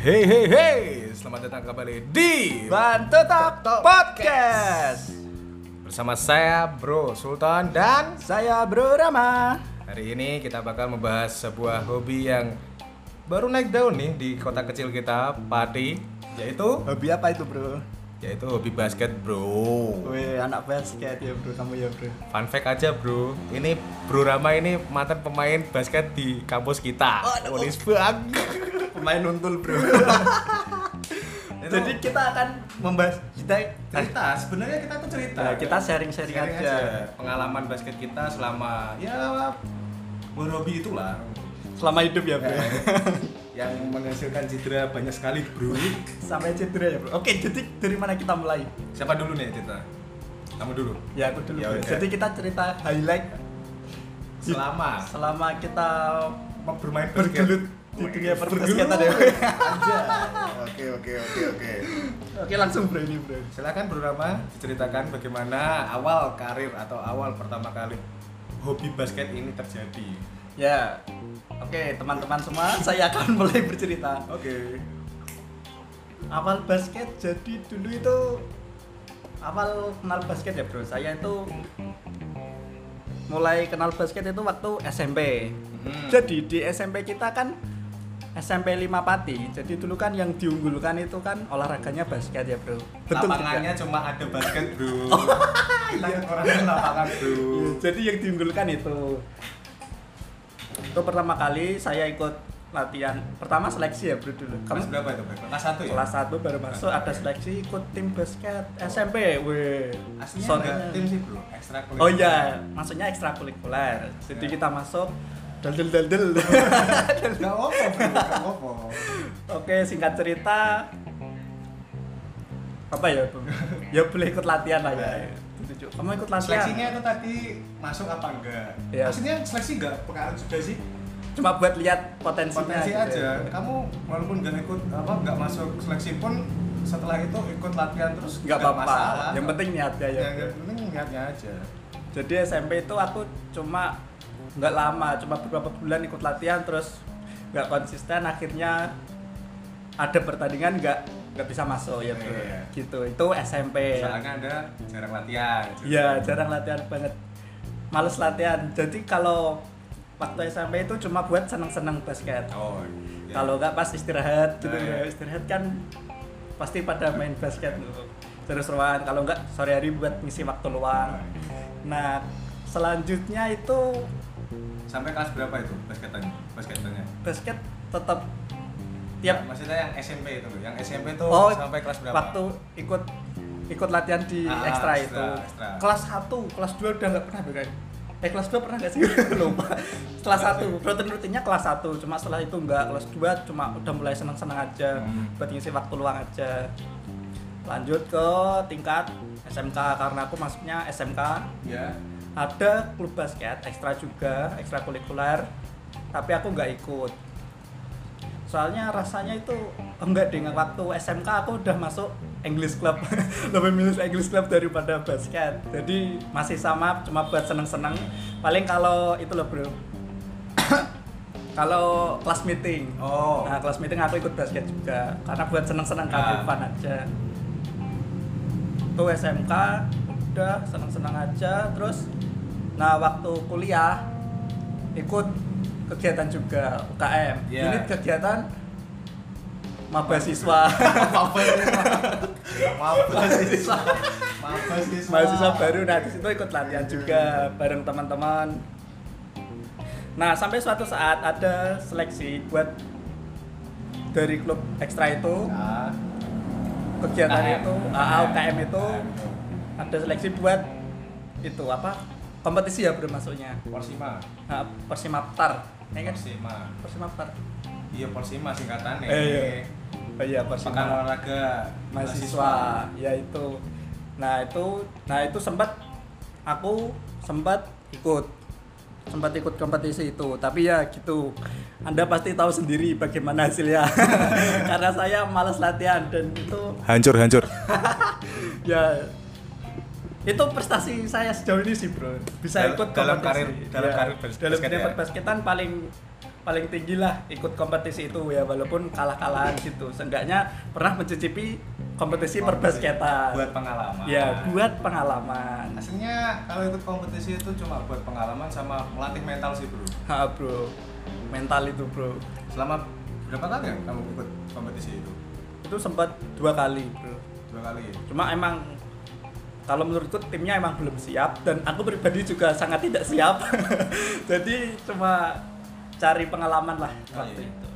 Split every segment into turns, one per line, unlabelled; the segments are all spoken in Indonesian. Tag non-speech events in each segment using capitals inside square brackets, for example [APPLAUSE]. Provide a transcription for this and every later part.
Hey hey hey, selamat datang kembali di
Bantu Tap Podcast.
bersama saya Bro Sultan dan
Saya Bro Rama.
hari ini kita bakal membahas sebuah hobi yang baru naik daun nih di kota kecil kita Pati, yaitu
Hobi apa itu bro?
yaitu hobi basket bro.
Wih anak basket ya bro, kamu ya bro.
Fun fact aja bro, ini Bro Rama ini mantan pemain basket di kampus kita.
Waduh.
Walis bang.
Pemain nuntul [LAUGHS] bro. Jadi kita akan membahas kita
cerita, sebenarnya kita tuh cerita.
Nah, kita sharing-sharing
Sharing
aja.
pengalaman basket kita selama ya berhobi itulah
selama hidup ya bro.
yang menghasilkan citra banyak sekali bro.
[LAUGHS] Sampai cedera ya bro. Oke, jadi dari mana kita mulai?
Siapa dulu nih cerita? Kamu dulu.
Ya aku dulu.
Ya,
bro.
udah.
Jadi kita cerita highlight
Selama
selama kita
bermain basket.
Ah. bergelut di dunia perbasketan ya. [LAUGHS] bro.
Oke oke oke oke.
Oke langsung bro ini bro.
Silakan Bro Rama diceritakan bagaimana awal karir atau awal pertama kali hobi basket ini terjadi.
Ya, oke teman-teman semua, saya akan [LAUGHS] mulai bercerita.
Oke.
Awal basket jadi dulu itu awal kenal basket ya bro. Saya itu mulai kenal basket itu waktu SMP.
Mhm.
Jadi di SMP kita kan SMP 5 Pati. Jadi dulu kan yang diunggulkan itu kan olahraganya basket ya bro.
Lapangannya
juga.
cuma ada basket [LAUGHS] bro. Kita kekurangan lapangan bro.
Iya, Jadi yang diunggulkan itu itu pertama kali saya ikut latihan pertama seleksi ya bro dulu.
Kamu berapa itu? Bang? Kelas satu ya?
kelas 1 baru masuk ada seleksi ikut tim basket SMP weh
Aslinya
Soalnya-
enggak tim sih bro, ekstra
oh
[LAUGHS]
iya maksudnya ekstrakurikuler jadi
Ya.
kita masuk dal dal dal dal.
[LAUGHS] Enggak apa bro, enggak apa.
ya. oke singkat cerita apa ya Bu? ya boleh ikut latihan lah ya
Ya.
Setuju. kamu ikut latihan
Seleksinya itu tadi masuk apa enggak?
Iya.
Maksudnya seleksi enggak pengaruh juga sih
cuma buat lihat potensinya
potensi
gitu ya.
aja. Kamu walaupun enggak ikut apa enggak masuk seleksi pun setelah itu ikut latihan terus
nggak
enggak
apa-apa
masalah.
yang penting niatnya ya,
ya,
Bu.
yang penting niatnya aja.
jadi SMP itu aku cuma nggak lama cuma beberapa bulan ikut latihan terus nggak konsisten akhirnya ada pertandingan nggak nggak bisa masuk ya bro
Iya.
gitu itu SMP
Soalnya Anda jarang latihan.
ya jarang latihan banget males latihan jadi kalau waktu SMP itu cuma buat seneng-seneng basket
Oh. iya.
kalau nggak pas istirahat gitu
Nah, iya.
ya. istirahat kan pasti pada main basket terus ruangan kalau nggak sore hari buat ngisi waktu luang
iya.
nah selanjutnya itu
sampai kelas berapa itu basketannya? Basketannya.
basket tetap tiap
Maksudnya yang SMP itu, loh. yang SMP itu
Iya. oh
sampai kelas berapa?
waktu ikut ikut latihan di
Ah,
ekstra,
ekstra,
itu
ekstra.
kelas 1, kelas 2 udah nggak pernah bukan eh kelas 2 pernah nggak sih [LAUGHS] lupa kelas 1 rutin rutinnya kelas 1 cuma setelah itu nggak kelas 2 cuma udah mulai seneng seneng aja
Hmm.
buat ngisi waktu luang aja lanjut ke tingkat SMK karena aku masuknya SMK
Ya.
ada klub basket ekstra juga ekstrakurikuler tapi aku nggak ikut soalnya rasanya itu enggak dengan waktu SMK aku udah masuk English Club [LAUGHS] lebih milih English Club daripada basket jadi masih sama cuma buat seneng-seneng paling kalau itu loh bro [COUGHS] kalau kelas meeting
Oh.
Nah, kelas meeting aku ikut basket juga karena buat seneng-seneng
Nah.
nah. fun aja. Tuh SMK udah seneng-seneng aja terus nah waktu kuliah ikut kegiatan juga UKM.
Iya.
Unit kegiatan maba siswa.
Mabes Mabes Mabes Ya.
mahasiswa baru nah di situ ikut latihan juga bareng teman-teman nah sampai suatu saat ada seleksi buat dari klub ekstra itu kegiatan
UKM.
itu AA
nah.
UKM itu ada seleksi buat itu apa kompetisi ya bro masuknya
Persima
nah, persimaptar ya kan
Persima
persimaptar
Iya Persima singkatannya
Eh, iya. oh iya
Pekan olahraga
mahasiswa ya itu nah itu nah itu sempat aku sempat ikut sempat ikut kompetisi itu tapi ya gitu anda pasti tahu sendiri bagaimana hasilnya [LAUGHS] karena saya malas latihan dan itu
Hancur hancur
[LAUGHS] ya itu prestasi saya sejauh ini sih bro bisa
Dal-
ikut
dalam
kompetisi. Ya.
karir- dalam karir bas-
dalam
basket
dunia
ya?
perbasketan paling paling tinggi lah ikut kompetisi itu ya walaupun kalah-kalahan gitu. Seenggaknya pernah mencicipi kompetisi perbasketan.
buat pengalaman
Ya, buat pengalaman.
Aslinya kalau ikut kompetisi itu cuma buat pengalaman sama melatih mental sih bro.
Ha, bro. Mental itu, bro.
Selama berapa kali ya kamu ikut kompetisi itu?
Itu sempat dua kali, bro.
Dua kali. ya?
Cuma emang kalau menurutku timnya emang belum siap dan aku pribadi juga sangat tidak siap. [LAUGHS] Jadi cuma cari pengalaman lah
Oh, iya.
waktu itu.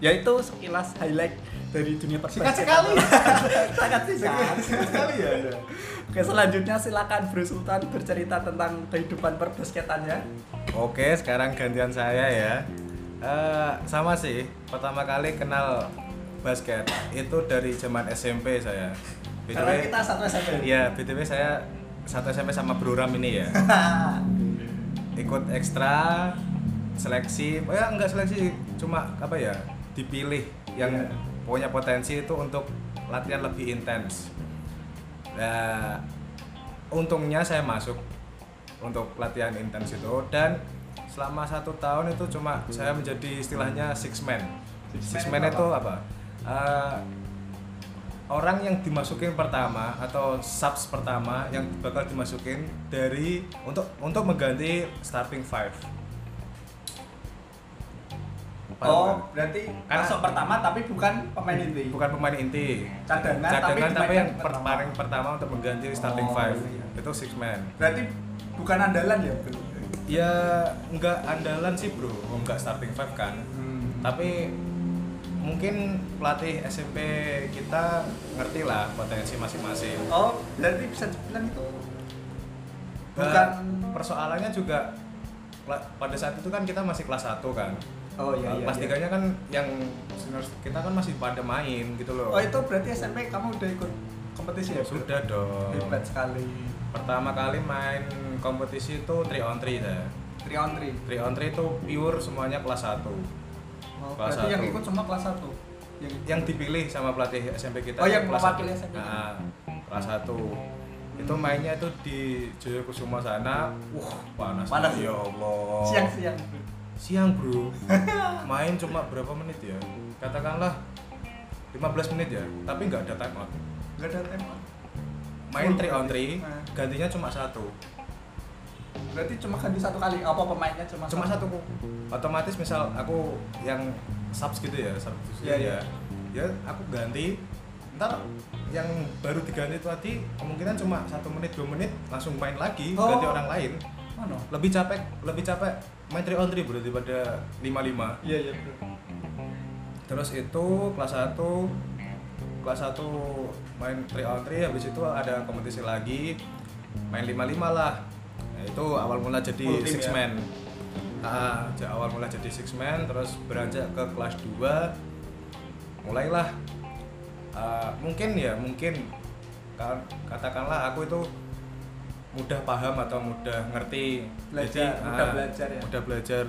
Ya itu sekilas highlight dari dunia
Singkat
perbasketan.
sekali. [LAUGHS]
sangat singkat.
Singkat sekali ya.
iya.
Anda.
Oke, selanjutnya silakan Bro Sultan bercerita tentang kehidupan perbasketannya.
Oke, sekarang gantian saya ya. Eh, sama sih, pertama kali kenal basket itu dari zaman SMP saya.
Karena kita satu SMP.
ya btw saya satu SMP sama Bro Ram ini ya.
Nah,
Ikut ekstra seleksi, oh ya enggak seleksi, cuma apa ya dipilih yang
Iya.
punya potensi itu untuk latihan lebih intens. Nah, untungnya saya masuk untuk latihan intens itu dan selama satu tahun itu cuma saya menjadi istilahnya six man.
Six
Six
man
man
itu
itu apa? Eh, orang yang dimasukin pertama atau subs pertama yang bakal dimasukin dari untuk untuk mengganti starting five.
Oh, berarti
Karena-
masuk pertama tapi bukan pemain inti.
bukan pemain inti
Cadangan, tapi
tapi,
dimainkan
yang per-
pertama.
paling pertama untuk mengganti starting
Oh,
five
iya.
itu six man
Berarti bukan andalan ya, Bro.
ya nggak andalan sih bro nggak starting five kan
Hmm.
tapi mungkin pelatih SMP kita ngerti lah potensi masing-masing
Oh, berarti bisa dibilang itu bukan
bukan Nah, persoalannya juga la- pada saat itu kan kita masih kelas 1 kan
Oh iya iya.
kelas
iya.
tiganya kan yang senior kita kan masih pada main gitu loh
Oh, itu berarti SMP kamu udah ikut kompetisi ya, Bro?
sudah dong
Hebat sekali.
pertama kali main kompetisi itu 3 on 3 dah
3 on 3.
3 on 3 itu pure semuanya kelas 1
Oh,
Kelas
berarti yang
satu. Ya.
ikut cuma kelas 1. Yang
yang dipilih sama pelatih SMP kita
Oh,
itu
yang
satu.
mewakili SMP.
Nah, kelas 1 itu mainnya itu di Jaya Kusuma sana uh panas
Panas.
ya Allah
siang-siang.
siang bro main cuma berapa menit ya katakanlah 15 menit ya tapi nggak ada time out
Enggak ada tema.
main
Full
3 on
berarti.
3
Nah.
gantinya cuma satu
Berarti cuma ganti satu kali. Apa pemainnya cuma
cuma satu kok. otomatis misal aku yang subs gitu ya subs gitu
Iya,
ya ya aku ganti ntar yang baru diganti itu tadi kemungkinan cuma satu menit dua menit langsung main lagi
Oh.
ganti orang lain
Mana?
lebih capek lebih capek main 3 on 3 bro daripada 5-5
Iya, iya, Bro.
terus itu kelas 1 kelas 1 main 3 on 3 habis itu ada kompetisi lagi main 55 lah Nah, itu awal mula jadi
Full team
six
ya?
man ah ja- awal mula jadi six man terus beranjak ke kelas 2 mulailah ah, mungkin ya mungkin ka- katakanlah aku itu mudah paham atau mudah ngerti
Belajar, mudah
ah,
belajar ya.
mudah belajar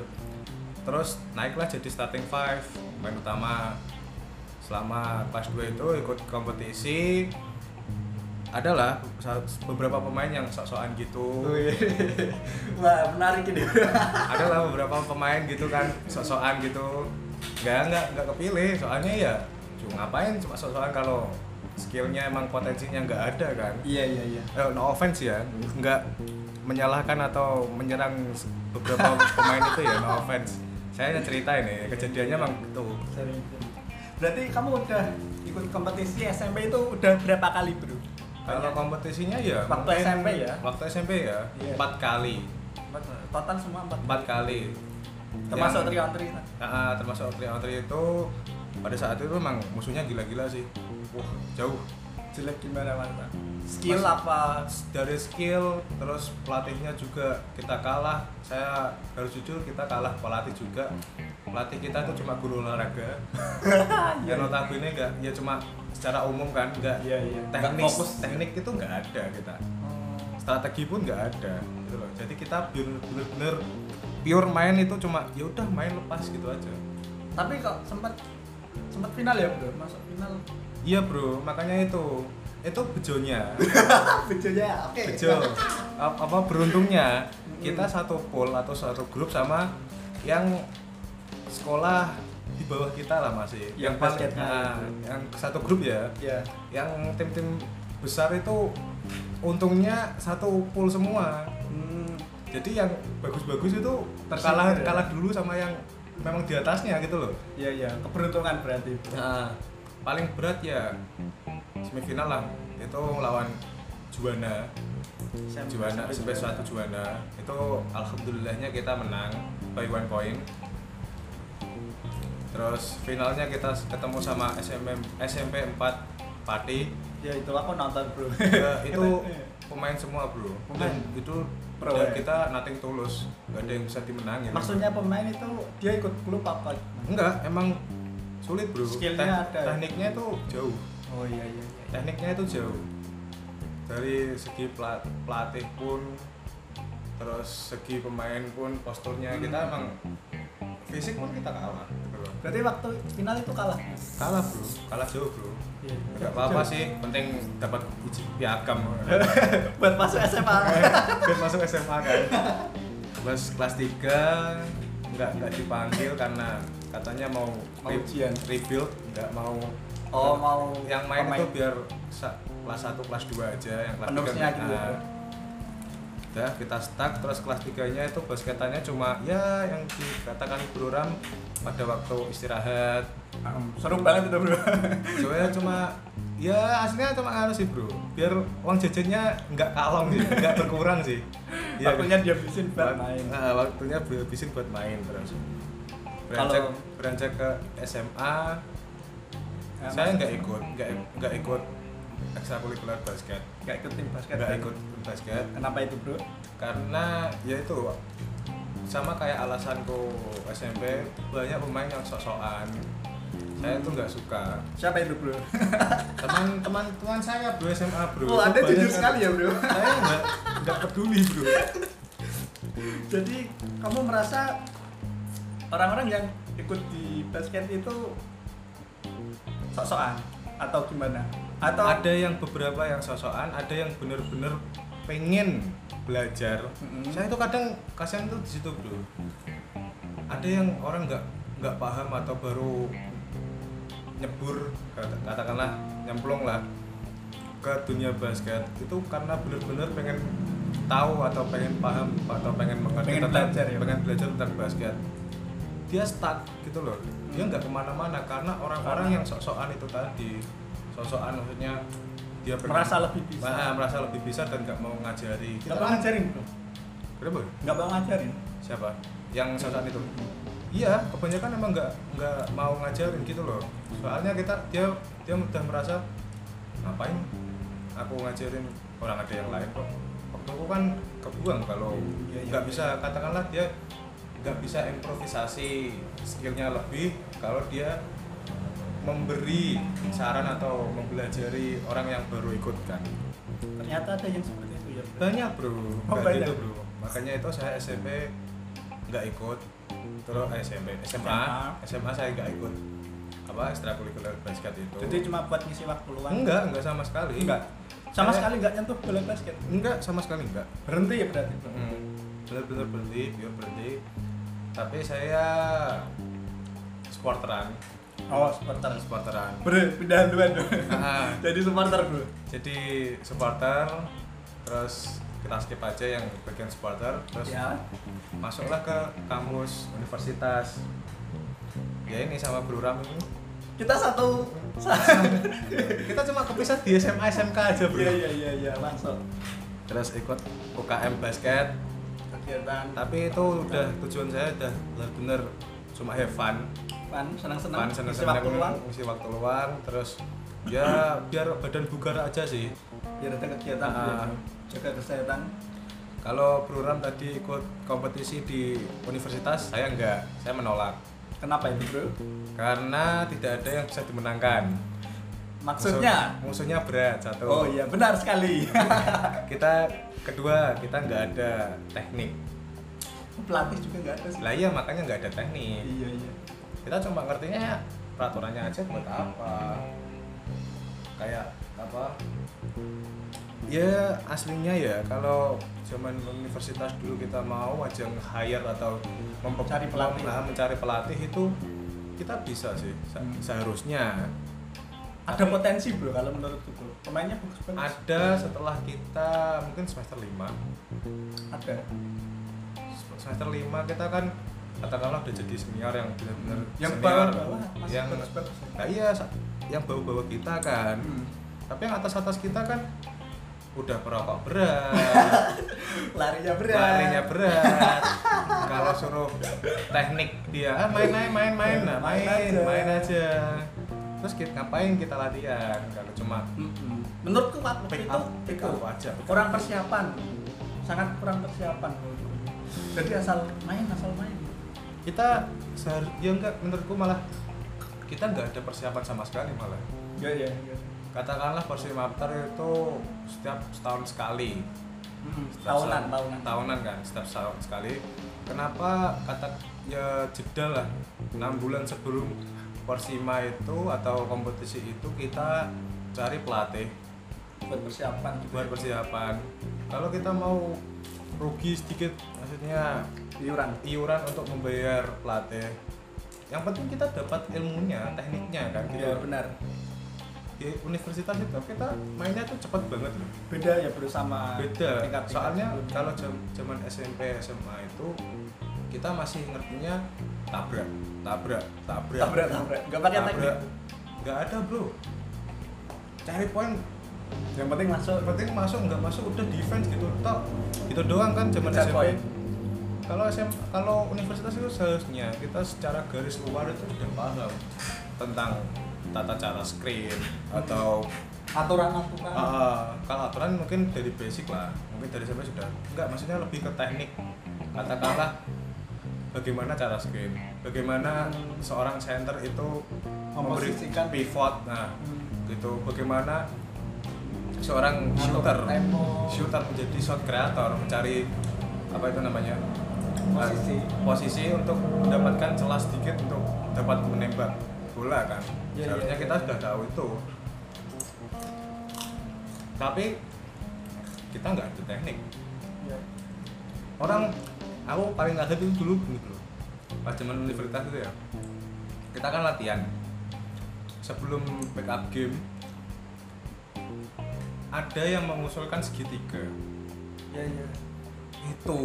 terus naiklah jadi starting five pemain utama selama kelas 2 itu ikut kompetisi adalah sa- beberapa pemain yang sok-sokan gitu
Wih. Wah, menarik
[LAUGHS]
ini.
adalah beberapa pemain gitu kan sok-sokan gitu nggak nggak nggak kepilih soalnya ya cuma ngapain cuma sok-sokan kalau skillnya emang potensinya nggak ada kan
Iya, iya, iya.
eh, no offense ya nggak menyalahkan atau menyerang beberapa pemain itu ya no offense saya hanya cerita ini kejadiannya emang gitu
Berarti kamu udah ikut kompetisi SMP itu udah berapa kali, Bro?
kalau
Banyak.
kompetisinya ya
Waktu
mungkin-
SMP ya?
waktu SMP ya
Iya.
empat kali
Empat, total semua empat.
empat kali Yang-
Termasuk trio on three.
Nah, termasuk Tri Outri itu pada saat itu emang musuhnya gila-gila sih. Wah, jauh.
Jelek gimana, Mas? Skill
Mas-
apa?
Dari skill, terus pelatihnya juga kita kalah. Saya harus jujur kita kalah pelatih juga. Pelatih kita itu cuma guru olahraga.
[LAUGHS] Iya,
ya notabene enggak, ya cuma secara umum kan enggak
Iya, iya.
teknik
Nggak fokus.
teknik itu enggak ada kita.
Hmm.
Strategi pun enggak ada gitu loh. Jadi kita bener-bener pure main itu cuma ya udah main lepas gitu aja.
Tapi kok sempat sempat final ya, Bro? Masuk final.
Iya bro, makanya itu itu bejonya,
Bejonya, oke.
bejo A- apa beruntungnya kita satu pool atau satu grup sama yang sekolah di bawah kita lah ya. masih
Yang
paling-
basketnya.
ah, yang satu grup ya
ya
yang tim-tim besar itu untungnya satu pool semua
hmm,
jadi yang bagus-bagus itu
Tersingkir
kalah
ya?
kalah dulu sama yang memang di atasnya gitu loh
ya ya keberuntungan berarti itu
Nah, paling berat ya semifinal lah itu lawan Juwana Juwana sampai suatu Juwana itu alhamdulillahnya kita menang by one point terus finalnya kita ketemu sama SMM, SMP 4 Pati
ya itulah aku nonton bro [LAUGHS]
Ya, itu pemain semua bro
Pemain?
dan itu
Pro
dan
ya?
kita nothing tulus gak ada yang bisa dimenangin
maksudnya pemain itu dia ikut klub apa
enggak emang sulit bro
Skillnya ada. ya?
tekniknya itu jauh
oh iya iya, iya.
tekniknya itu jauh dari segi pela- pelatih pun terus segi pemain pun posturnya kita emang fisik pun kita kalah gitu loh.
berarti waktu final itu kalah
kalah bro kalah jauh bro
Iya.
nggak apa apa sih penting dapat uji piagam
[LAUGHS] buat masuk SMA
Biar masuk SMA kan terus kelas 3 nggak nggak dipanggil karena katanya mau,
Mau
re-
ujian.
rebuild nggak mau
Oh, mau
yang main
pemain.
itu biar sa- kelas 1 kelas 2 aja yang kelas
Penerusnya
3
gitu.
udah kita stuck terus kelas 3 nya itu basketannya cuma ya yang dikatakan program pada waktu istirahat
Hmm, seru banget itu bro
soalnya cuma ya aslinya cuma harus sih bro biar uang jajannya nggak kalong sih nggak berkurang sih
[LAUGHS]
Iya.
waktunya dia bisin buat main
Nah, waktunya habisin buat main terus. Beranjak
Kalau-
beranjak ke SMA,
Nah,
saya
Mas-
nggak ikut, nggak nggak ikut ekstrakurikuler basket,
nggak ikut tim basket
nggak ikut basket
kenapa itu bro
karena ya itu sama kayak alasanku SMP banyak pemain yang sok-sokan. Saya tuh nggak suka.
siapa itu [LAUGHS] bro
Teman-teman teman saya bro SMA bro.
oh anda
Banyak kan?
jujur
yang-
sekali ya
[LAUGHS]
bro
Saya nggak nggak peduli bro.
Jadi kamu merasa orang-orang yang ikut di basket itu sok-sokan atau gimana? Atau
ada yang beberapa yang sosokan ada yang bener-bener pengen belajar
Mm-mm.
saya itu kadang kasihan tuh di situ bro ada yang orang nggak nggak paham atau baru nyebur kata- katakanlah nyemplung lah ke dunia basket itu karena bener-bener pengen tahu atau pengen paham atau pengen mengerti
Pengen
tentang-
belajar ya, Pak?
pengen belajar tentang basket dia stuck gitu loh dia nggak kemana-mana karena orang-orang yang sok-sokan itu tadi sok-sokan maksudnya dia pengen-
merasa lebih bisa?
Nah, merasa lebih bisa dan nggak mau ngajari
Nggak mau ngajarin bro?
Kenapa?
Nggak mau ngajarin?
siapa yang sok-sokan itu iya kebanyakan emang nggak nggak mau ngajarin gitu loh soalnya kita dia dia udah merasa ngapain aku ngajarin orang ada yang lain kok waktuku kan kebuang kalau
Iya, iya.
nggak bisa katakanlah dia nggak bisa improvisasi skillnya lebih kalau dia memberi saran atau mempelajari orang yang baru ikut kan
Ternyata ada yang seperti itu ya bro?
banyak bro
Oh,
Nggak
banyak.
gitu, bro makanya itu saya SMP nggak ikut terus
Hmm.
eh, SMP SMA SMA saya nggak ikut apa ekstrakurikuler basket itu
Jadi cuma buat ngisi waktu luang?
enggak enggak sama sekali
Enggak. Sama
Saya-
sekali nggak nyentuh bola basket?
enggak sama sekali enggak
Berhenti ya berarti bro?
Hmm. bener-bener berhenti pure berhenti tapi saya sporteran
Oh supporter
sporteran
Bro, pindahan duluan bro
Ah.
[LAUGHS] Jadi supporter bro?
jadi supporter terus kita skip aja yang bagian supporter terus
Ya
masuklah ke kampus universitas ya ini sama Bro Ram ini
Kita
[LAUGHS]
satu
kita cuma kepisah di SMA SMK aja bro
Iya iya iya iya langsung
terus ikut UKM basket
Kegiatan
tapi itu udah tujuan saya udah bener-bener cuma have fun
Pan senang-senang
fun
ngisi
seneng-seneng
waktu luang
ngisi waktu luang terus ya biar badan bugar aja sih
biar ada Ya, kegiatan
Ah.
biar jaga kesehatan
kalau Bro Ram tadi ikut kompetisi di universitas saya enggak saya menolak
kenapa itu bro
karena tidak ada yang bisa dimenangkan
maksudnya
Musuh- musuhnya berat satu
oh iya benar sekali [LAUGHS]
kita kedua kita nggak ada teknik
pelatih juga nggak ada sih
lah iya makanya nggak ada teknik
iya iya
kita cuma ngertinya peraturannya aja buat apa kayak apa ya aslinya ya kalau zaman universitas dulu kita mau aja hire atau mempe-
Cari pelatih.
nah, mencari pelatih itu kita bisa sih se-
Hmm.
seharusnya
Ada potensi bro kalau menurutku bro. Pemainnya bagus banget.
ada setelah kita mungkin semester 5
Ada.
semester 5 kita kan katakanlah udah jadi senior yang benar-benar
Yang
senior,
bawah-bawah masih
yang
bagus-bagus.
Nah, iya sa- yang bawa-bawa kita kan
Hmm.
tapi yang atas-atas kita kan udah perokok berat,
Larinya [LAUGHS] berat.
larinya berat. Kalau suruh teknik dia "Ah, main main main main nah, main
Main
main
aja.
aja. Terus kita ngapain kita latihan kalau cuma
Mm-mm. Menurutku waktu
pick
itu
up pick
itu
up aja.
kurang persiapan, sangat kurang persiapan. Jadi asal main asal main.
Kita seharusnya ya enggak menurutku malah kita nggak ada persiapan sama sekali malah.
Ya
Iya,
ya. ya.
Katakanlah Persimapter itu setiap setahun sekali.
Mm-mm.
Setiap
Tahunan
sa-
tahunan.
tahunan kan setiap tahun sekali kenapa kata ya jeda lah 6 bulan sebelum Persima itu atau kompetisi itu kita cari pelatih
Buat persiapan. gitu
buat
ya.
persiapan kalau kita mau rugi sedikit maksudnya
Iuran.
iuran untuk membayar pelatih yang penting kita dapat ilmunya tekniknya kan gitu.
Iya benar.
di universitas itu kita mainnya tuh cepet banget loh
Beda ya bro sama
beda
tingkat-tingkat
soalnya
sebelumnya.
kalau jam- zaman SMP SMA itu kita masih ngertinya tabrak tabrak tabrak
tabrak tabrak nggak pakai teknik.
tabrak nggak ada bro cari poin
Yang penting masuk.
yang penting masuk nggak masuk udah defense gitu tok gitu doang kan zaman
Kejar
SMP
poin.
kalau SM kalau universitas itu seharusnya kita secara garis luar itu sudah paham tentang tata cara screen atau
Aturan aturan.
Ah, kalau aturan mungkin dari basic lah, mungkin dari SMP sudah. Enggak, maksudnya lebih ke teknik. Katakanlah bagaimana cara screen, bagaimana seorang center itu memberi
Memposisikan.
pivot, nah
Hmm.
gitu. Bagaimana seorang
Ngatur
shooter,
tempo.
shooter menjadi shot creator, mencari apa itu namanya
Posisi.
Eh, posisi untuk mendapatkan celah sedikit untuk dapat menembak bola kan.
Iya, iya,
Seharusnya
iya,
kita
iya.
sudah tahu itu tapi kita nggak ada teknik
Iya.
orang aku paling kaget itu dulu gini bro pas zaman universitas itu ya kita kan latihan sebelum pick up game ada yang mengusulkan segitiga
Iya iya.
itu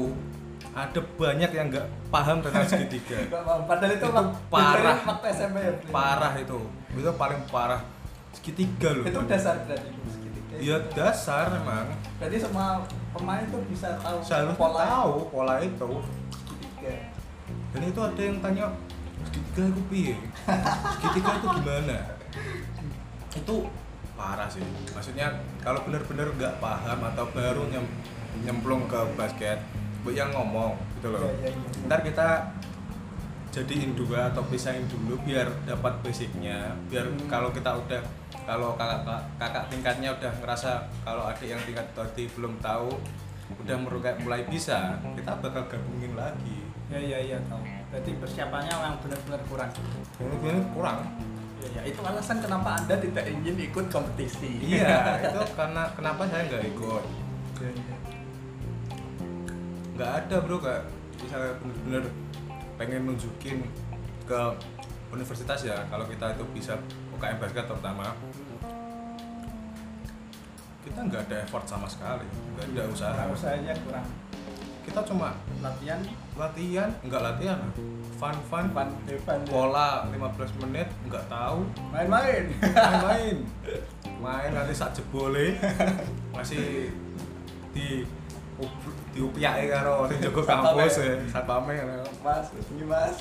ada banyak yang nggak paham tentang
[LAUGHS]
segitiga
Nggak paham. Padahal itu,
Itu
wak-
parah.
Waktu SMP ya. bro.
parah itu itu paling parah segitiga loh
Itu dasar berarti Bro, segitiga.
ya dasar emang
Berarti semua pemain tuh bisa tahu
seharusnya
pola
tahu pola itu
segitiga.
dan itu ada yang tanya segitiga itu piye segitiga itu gimana itu parah sih maksudnya kalau benar-benar nggak paham atau baru nyem- nyemplung ke basket bu yang ngomong gitu loh
Iya, iya, iya.
ntar kita jadiin dua atau pisahin dulu biar dapat basicnya biar
Hmm.
kalau kita udah kalau kakak kakak tingkatnya udah ngerasa kalau adik yang tingkat tadi belum tahu udah merukai mulai bisa kita bakal gabungin lagi
Ya ya ya tahu. Berarti persiapannya yang benar-benar kurang.
Bener-bener kurang.
Ya, ya. Itu alasan kenapa Anda tidak ingin ikut kompetisi.
[LAUGHS] Iya, itu karena kenapa saya nggak ikut?
Ya, ya.
Nggak ada bro, nggak misalnya bener-bener pengen nunjukin ke universitas ya kalau kita itu bisa UKM basket terutama kita nggak ada effort sama sekali nggak ada usaha
Kurang usahanya kurang.
kita cuma
Latihan
latihan nggak latihan fun fun
depan depan ya.
bola 15 menit nggak tahu
main-main.
main-main main nanti sak jebole [LAUGHS] masih di diupiake karo sing jaga kampus ya satpame ya.
Mas, ini Mas.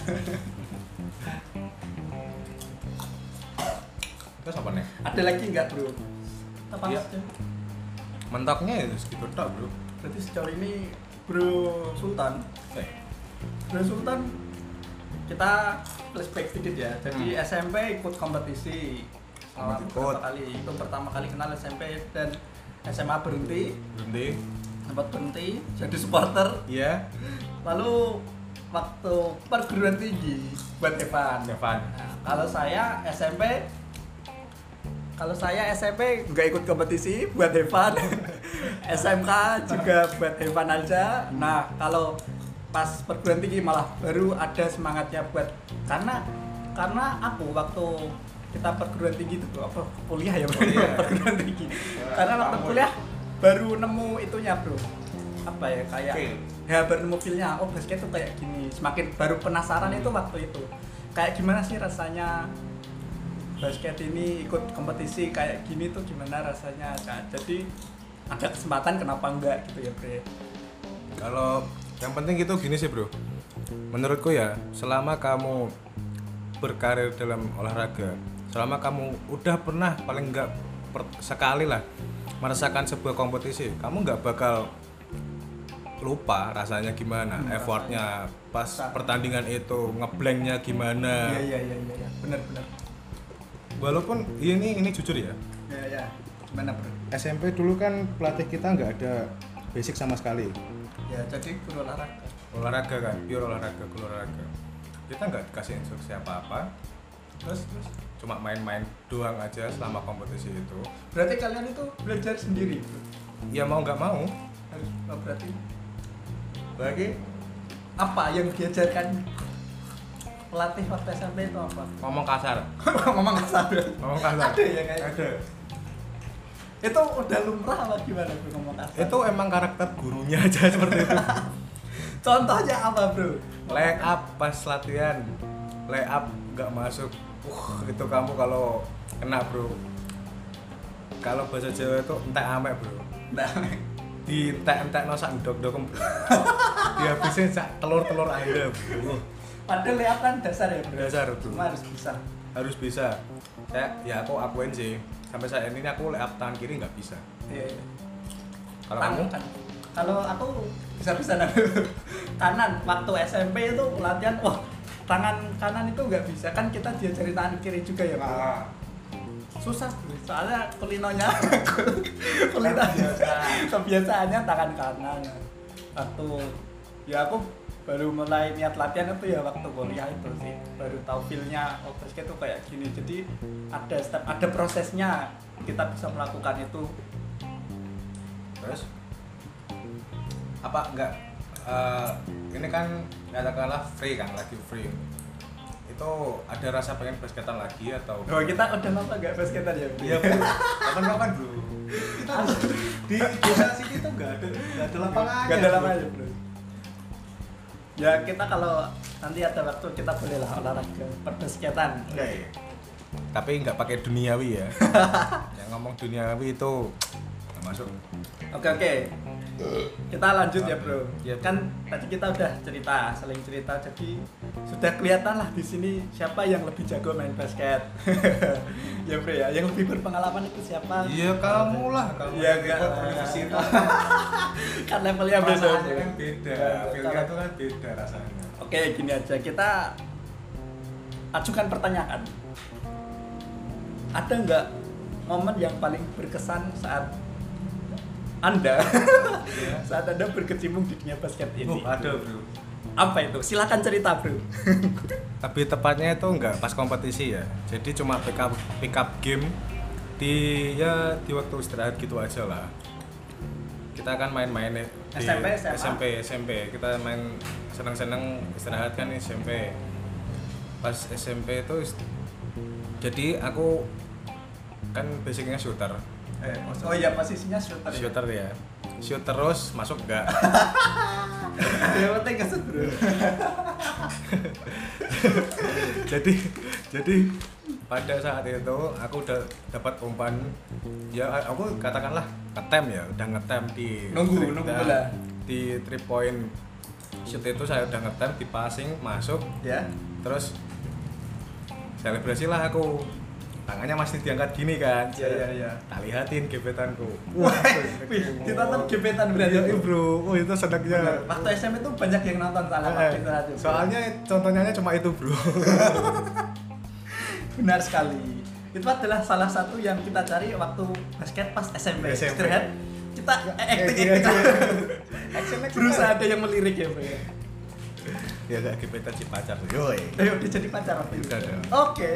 terus apa nih
Ada lagi nggak, Bro? Kita panas
Iya.
ya.
mentoknya ya terus gitu tok bro
Berarti sejauh ini Bro Sultan
eh
Bro Sultan kita flashback sedikit ya. Jadi
Hmm.
SMP ikut kompetisi selama
Ikut.
beberapa kali. Itu pertama kali kenal SMP dan SMA berhenti,
berhenti
sempat berhenti jadi supporter.
iya
Lalu waktu perguruan tinggi buat Evan.
Evan
Nah, kalau saya SMP kalau saya SMP nggak ikut kompetisi buat Evan [LAUGHS] SMK juga buat Evan aja. Nah, kalau pas perguruan tinggi malah baru ada semangatnya buat karena karena aku waktu kita perguruan tinggi itu tuh, apa kuliah ya bro
Kuliah.
[LAUGHS] perguruan tinggi
Ya,
karena waktu
kamu.
kuliah baru nemu itunya bro apa ya kayak
Feel.
ya baru nemu feelnya oh basket tuh kayak gini semakin baru penasaran itu waktu itu kayak gimana sih rasanya basket ini ikut kompetisi kayak gini tuh gimana rasanya Nah, jadi ada kesempatan kenapa enggak gitu ya bre
Kalau yang penting itu gini sih bro, menurutku ya selama kamu berkarir dalam olahraga, selama kamu udah pernah paling nggak per- sekali lah merasakan sebuah kompetisi, kamu nggak bakal lupa rasanya gimana,
Hmm,
effortnya pas
Sa-
pertandingan itu ngeblanknya gimana.
iya iya iya iya ya. benar benar
Walaupun ini ini jujur ya,
ya ya gimana bro
SMP dulu kan pelatih kita nggak ada basic sama sekali.
ya jadi guru olahraga
olahraga kan pure olahraga guru olahraga kita nggak dikasih instruksi apa apa
terus terus
cuma main-main doang aja selama kompetisi itu
berarti kalian itu belajar sendiri bro
ya mau nggak mau
harus oh, berarti
lagi
apa yang diajarkan pelatih waktu SMP itu apa
ngomong kasar
memang kasar
[LAUGHS] ngomong kasar
Ada ya kayaknya?
ada
itu udah lumrah apa gimana bro ngomong kasar
itu emang karakter gurunya [LAUGHS] aja seperti itu
contohnya apa bro
lay up pas latihan lay up nggak masuk uh itu kamu kalau kena bro kalau bahasa Jawa itu entek amek bro
nah
di entek entek nosak dok dokem bro [LAUGHS] dihabisin sak telur telur aja bro
padahal ya kan dasar ya bro
Dasar, bro.
cuma harus bisa
harus bisa saya ya aku akuin sih sampai saat ini aku lay up tangan kiri nggak bisa
iya iya.
kalau
Tang-
kamu
kan- kalau aku bisa bisa [LAUGHS] kanan waktu SMP itu latihan wah tangan kanan itu nggak bisa kan kita diajarin tangan kiri juga ya bro
Ah.
susah bro. soalnya
[LAUGHS]
kulinonya
Kan
kulinonya
Kebiasaan.
[LAUGHS] kebiasaannya tangan kanan waktu ya aku baru mulai niat latihan itu ya waktu kuliah itu sih baru tahu feelnya oh basket tuh kayak gini jadi ada step ada prosesnya kita bisa melakukan itu
terus apa nggak eh, ini kan katakanlah free kan lagi free itu ada rasa pengen basketan lagi atau
oh kita udah lama nggak basketan ya
Iya bro, kapan-kapan bro
di desa sini tuh nggak ada nggak ada lapangan
Gak ada lapangannya, bro. Ya kita kalau nanti ada waktu kita bolehlah olahraga perbasketan.
Oke.
tapi nggak pakai duniawi ya [LAUGHS] yang ngomong duniawi itu nggak masuk
Oke oke. Kita lanjut ya bro.
Iya, bro.
Kan tadi kita udah cerita, saling cerita. Jadi sudah kelihatan lah di sini siapa yang lebih jago main basket. [LAUGHS] ya bro ya, yang lebih berpengalaman itu
Ah.
siapa?
iya kamu lah kamu
Iya,
yang
enggak.
ikut universitas
[LAUGHS] Kan levelnya beda.
perasaannya
bro.
kan beda
Ya,
feelnya
kalau-
tuh kan beda rasanya
Oke, gini aja kita ajukan pertanyaan. Ada nggak momen yang paling berkesan saat anda [LAUGHS]
Iya.
saat anda berkecimpung di dunia basket ini?
Oh, ada bro
Apa itu? Silakan cerita bro.
tapi tepatnya itu nggak pas kompetisi ya jadi cuma pick up pick up game di ya di waktu istirahat gitu aja lah kita kan main-main ya di
SMP, SMA.
SMP SMP kita main seneng-seneng istirahat kan SMP pas SMP itu ist- jadi aku kan basicnya shooter
Eh, oh iya posisinya shooter. ya? [LAUGHS]
shooter ya shoot terus masuk nggak
Yang penting kesut Iya, bro.
jadi jadi pada saat itu aku udah dapat umpan ya aku katakanlah ngetem ya udah ngetem di
Nunggu,
three-
nunggu
nah,
bola.
di three point shoot itu saya udah ngetem di passing masuk
Ya.
terus selebrasi lah aku tangannya masih diangkat gini kan
Iya, iya, iya.
tak lihatin gebetanku
Wah, wih, kita kan gebetan berarti
Iya, bro oh itu senangnya
Bener, Waktu SMP tuh banyak yang nonton salah waktu itu aja,
Eh,
bro.
soalnya contohnya cuma itu bro [LAUGHS]
Benar sekali. Itu adalah salah satu yang kita cari waktu basket pas SMP.
SMP.
Istirahat kan? kita eh, acting
iya,
acting. [LAUGHS]
Action, action.
gitu. Berusaha ada yang melirik ya, Bro. ya.
ya gak gebetan si pacar eh. yoi
Ayo udah jadi pacar waktu itu.
Udah, udah.
Oke.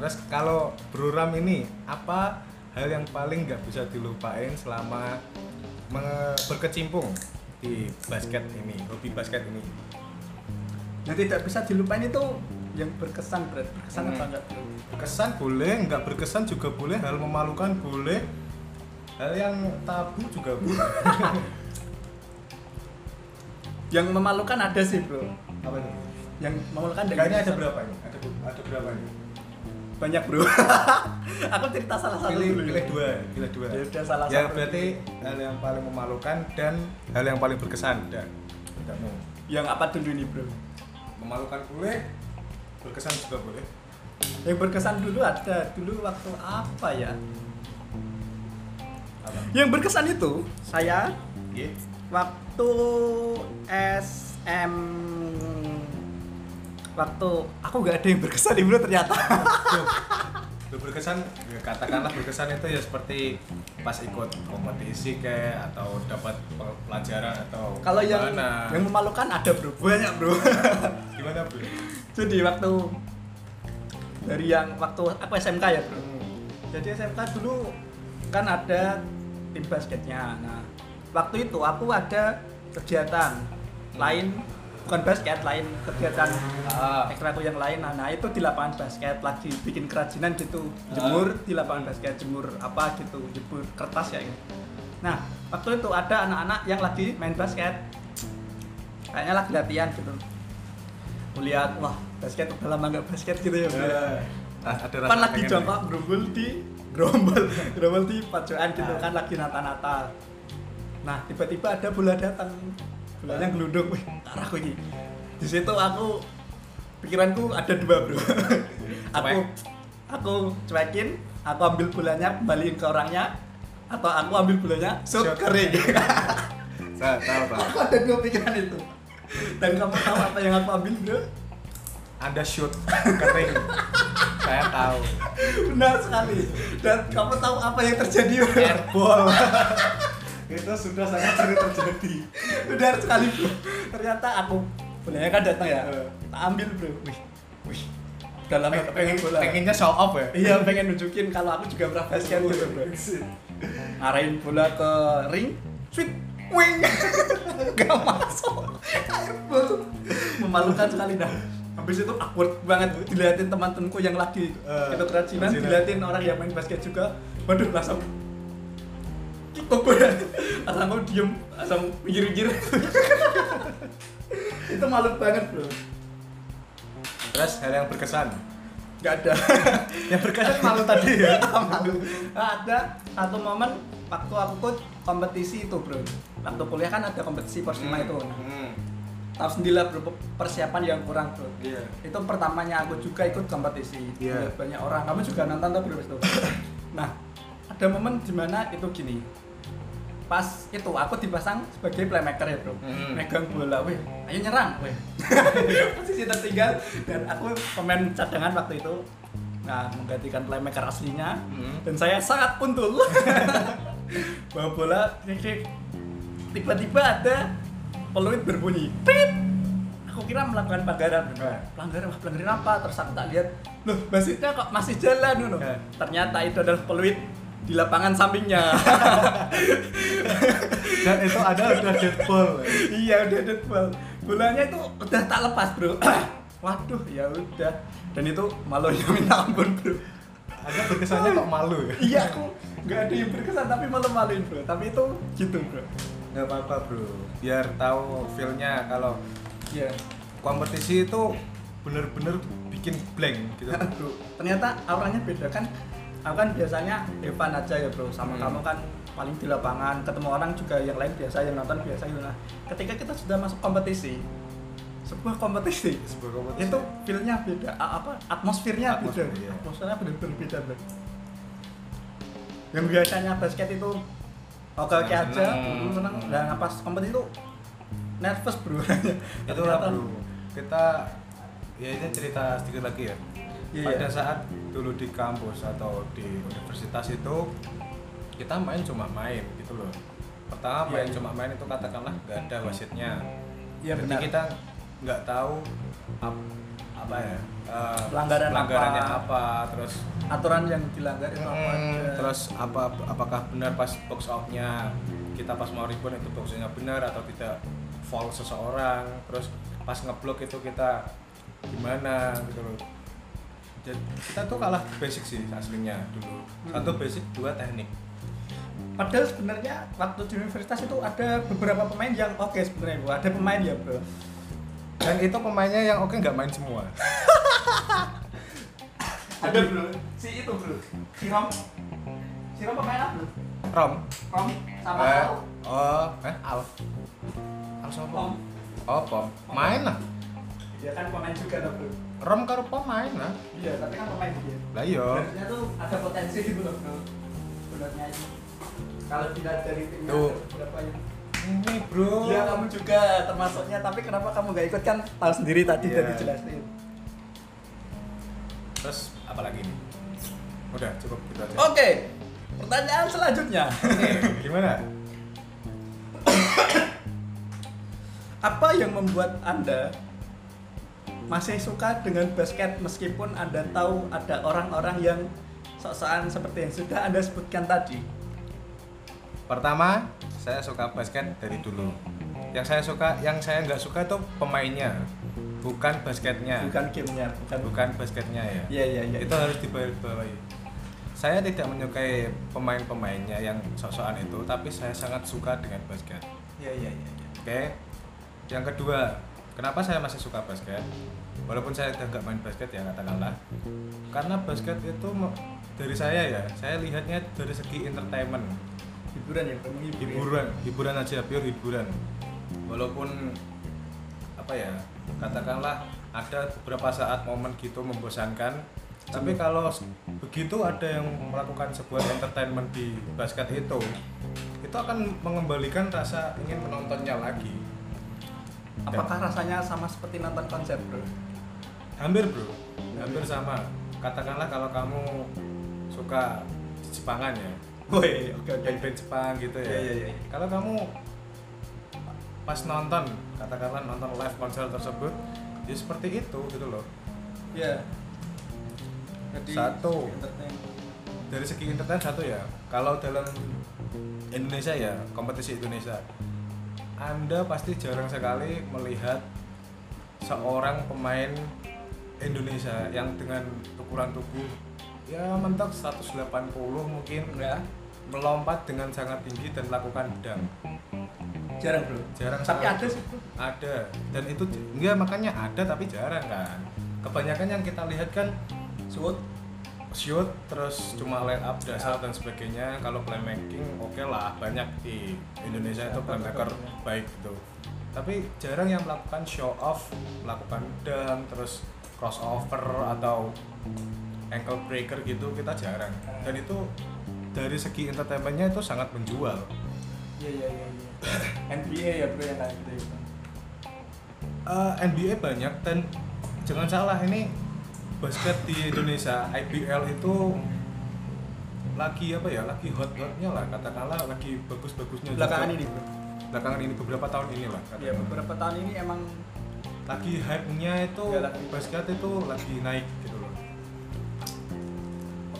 terus kalau Bro Ram ini apa hal yang paling nggak bisa dilupain selama me- berkecimpung di basket ini hobi basket ini
yang tidak bisa dilupain itu yang berkesan berat berkesan
Hmm.
apa enggak tuh?
berkesan boleh nggak berkesan juga boleh hal memalukan boleh hal yang tabu juga
[LAUGHS]
boleh
yang memalukan ada sih bro
apa itu
yang memalukan dan
kayaknya ada
berkesan.
berapa ini ada, ada berapa ini
banyak bro [LAUGHS] aku cerita salah satu
pilih
dulu.
pilih dua pilih dua
Ya udah, salah
ya
satu.
berarti hal yang paling memalukan dan hal yang paling berkesan dan tidak mau
yang apa dulu nih bro
memalukan boleh berkesan juga boleh
yang berkesan dulu ada dulu waktu apa ya
apa
yang berkesan itu saya
Iya.
waktu SM waktu aku nggak ada yang berkesan nih bro ternyata
Tuh. Tuh, berkesan ya, katakanlah berkesan itu ya seperti pas ikut kompetisi kayak atau dapat pe- pelajaran atau
kalau yang
gimana
yang memalukan ada bro banyak bro
gimana Bu?
jadi waktu dari yang waktu aku SMK ya bro jadi SMK dulu kan ada tim basketnya nah waktu itu aku ada kegiatan lain bukan basket lain kegiatan
Ah.
ekstra aku yang lain nah, nah, itu di lapangan basket lagi bikin kerajinan gitu jemur di lapangan basket jemur apa gitu jemur kertas ya gitu. nah waktu itu ada anak-anak yang lagi main basket kayaknya lagi latihan gitu melihat wah basket udah lama nggak basket gitu ya bro
Nah, ada
kan
rasa
lagi
pengen
jamak gerombol di gerombol [LAUGHS] gerombol di pojokan gitu
Ah.
kan lagi nata-nata nah tiba-tiba ada bola datang bolanya gelundung wih arahku ini di situ aku pikiranku ada dua
Iya.
bro [LAUGHS] aku
Cuek.
aku cuekin aku ambil bolanya kembaliin ke orangnya atau aku ambil bolanya shoot
Shoot.
kering
Sa- tahu, tahu.
aku ada dua pikiran itu dan kamu tahu apa yang aku ambil bro
anda shoot kering saya tahu
benar sekali dan kamu tahu apa yang terjadi bro
airball itu sudah sangat sering terjadi
Benar sekali bro. Ternyata aku bolanya kan datang ya.
Heeh.
Tak ambil bro. Wih, wih. Udah lama
Peng-
gak
pengen
Eh, pengen bola.
pengennya show off ya
Iya pengen nunjukin kalau aku juga pernah basket gitu bro. Ngarahin bola ke ring, sweet, wing, [LAUGHS] gak masuk. Airball. Memalukan sekali dah. Habis itu awkward banget diliatin teman-temanku yang lagi
Eh,
itu kerajinan,
kerajinan.
diliatin kan. orang yang main basket juga. Waduh langsung kok gue asal gue diem asal mikir-mikir [LAUGHS] itu malu banget bro
terus hal yang berkesan
nggak ada
[LAUGHS] yang berkesan malu tadi
[LAUGHS]
ya
malu Nah, ada satu momen waktu aku ikut kompetisi itu bro waktu kuliah kan ada kompetisi persima itu nah,
Hmm.
tahu sendirilah bro persiapan yang kurang bro
Iya.
itu pertamanya aku juga ikut kompetisi
Iya.
Banyak- banyak orang kamu juga nonton tuh bro
[LAUGHS]
itu nah ada momen dimana itu gini pas itu aku dipasang sebagai playmaker ya bro
Hmm.
megang bola weh ayo nyerang
[LAUGHS]
weh posisi tertinggal dan aku pemain cadangan waktu itu nah menggantikan playmaker aslinya
Hmm.
dan saya sangat puntul [LAUGHS] bawa bola krik, krik. tiba-tiba ada peluit berbunyi Prit! aku kira melakukan pelanggaran
Eh.
pelanggaran wah pelanggaran apa terus aku tak lihat loh basitnya kok masih jalan loh
Eh.
ternyata itu adalah peluit di lapangan sampingnya
dan itu ada udah dead ball
[LAUGHS] iya udah dead ball bolanya itu udah tak lepas bro [COUGHS] waduh ya udah dan itu malunya minta ampun bro
anda berkesannya kok malu ya
iya aku nggak ada yang berkesan tapi malu maluin bro tapi itu gitu bro
nggak apa-apa bro biar tahu feelnya kalau
iya
kompetisi itu bener-bener bikin blank gitu
bro ternyata auranya beda kan aku kan biasanya depan aja ya bro sama
Hmm.
kamu kan paling di lapangan ketemu orang juga yang lain biasa yang nonton biasa gitu nah ketika kita sudah masuk kompetisi [LAUGHS] sebuah kompetisi
sebuah kompetisi
itu feel-nya beda a- apa atmosfernya
Atmosfer,
beda
iya.
atmosfernya benar-benar beda bro yang biasanya basket itu oke oke aja
Seneng-seneng.
seneng dan pas kompetisi itu nervous bro [LAUGHS]
itu
Ternyata-
bro kita ya ini cerita sedikit lagi ya
Iya,
pada
iya.
saat dulu di kampus atau di universitas itu kita main cuma main gitu loh pertama
Iya,
main
iya.
cuma main itu katakanlah nggak ada wasitnya
Iya,
Berarti
benar.
kita nggak tahu ap- apa ya eh,
Pelanggaran
pelanggarannya apa,
apa?
terus
aturan yang dilanggar itu apa
mm,
aja
terus apa apakah benar pas box outnya kita pas mau rebound itu boxnya benar atau tidak foul seseorang terus pas ngeblok itu kita gimana gitu loh jadi kita tuh kalah basic sih aslinya dulu satu basic dua teknik
Padahal sebenarnya waktu di universitas itu ada beberapa pemain yang oke sebenarnya bro. Ada pemain ya bro.
dan itu pemainnya yang oke nggak main semua
Ada bro. Si itu bro. Si Rom. Si Rom pemain apa bro?
Rom
Rom sama
Eh,
Al.
oh eh Alf Alf siapa?
Pom.
oh Pom main lah
Dia kan pemain juga tuh bro.
Rom karo Pom main lah
Iya, tapi kan pemain dia.
lah iya
Sebenarnya tuh ada potensi gitu loh bro. Sebenarnya itu. Kalau dilihat dari timnya
Tuh.
ada beberapa yang
ini bro
Iya kamu juga termasuknya, tapi kenapa kamu gak ikut kan tahu sendiri tadi
Iya.
udah dijelasin.
terus apalagi nih udah cukup gitu aja
Oke, pertanyaan selanjutnya.
gimana
Apa yang membuat Anda masih suka dengan basket meskipun Anda tahu ada orang-orang yang sok-sokan seperti yang sudah Anda sebutkan tadi?
pertama saya suka basket dari dulu yang saya suka yang saya nggak suka itu pemainnya bukan basketnya
Bukan gamenya, bukan.
Ya. bukan basketnya ya
Iya, iya, iya.
itu harus dibawahi saya tidak menyukai pemain-pemainnya yang sok-sokan itu tapi saya sangat suka dengan basket
Iya, iya, iya. iya.
oke yang kedua kenapa saya masih suka basket walaupun saya udah nggak main basket ya katakanlah karena basket itu me- dari saya ya saya lihatnya dari segi entertainment
Hiburan ya, kamu hiburan.
hiburan hiburan aja pure hiburan walaupun apa ya katakanlah ada beberapa saat momen gitu membosankan tapi kalau s- begitu ada yang melakukan sebuah entertainment di basket itu itu akan mengembalikan rasa ingin menontonnya lagi
Apakah rasanya sama seperti nonton konser, bro?
hampir bro hampir sama katakanlah kalau kamu suka Jepangan ya
Woi, oke, oke.
band-band Jepang gitu ya.
Iya, iya, iya.
Kalau kamu pas nonton, katakanlah nonton live konser tersebut, ya seperti itu gitu loh.
Iya. Jadi,
Satu.
entertain.
Dari segi entertain satu ya. Kalau dalam Indonesia ya, kompetisi Indonesia, Anda pasti jarang sekali melihat seorang pemain Indonesia yang dengan ukuran tubuh ya mentok 180 mungkin
Ya.
melompat dengan sangat tinggi dan lakukan dunk.
Jarang, bro.
jarang
Tapi
sekali.
ada sih, bro.
ada dan itu j- enggak makanya ada tapi jarang kan kebanyakan yang kita lihat kan
Suut.
shoot terus cuma line up dasar dan sebagainya kalau playmaking oke lah banyak di Indonesia itu playmaker baik gitu tapi jarang yang melakukan show off melakukan dunk terus crossover atau ankle breaker gitu kita jarang dan itu dari segi entertainmentnya itu sangat menjual
Iya iya iya. iya. NBA ya bro yang kayak gitu. ya, bro.
Eh, NBA banyak dan jangan salah ini basket di Indonesia IPL itu lagi apa ya lagi hot hotnya lah katakanlah lagi bagus bagusnya
Belakangan ini bro.
belakangan ini beberapa tahun ini lah
Ya
katakanlah.
beberapa tahun ini emang
lagi hype nya itu
Ya, lagi.
basket itu lagi naik gitu loh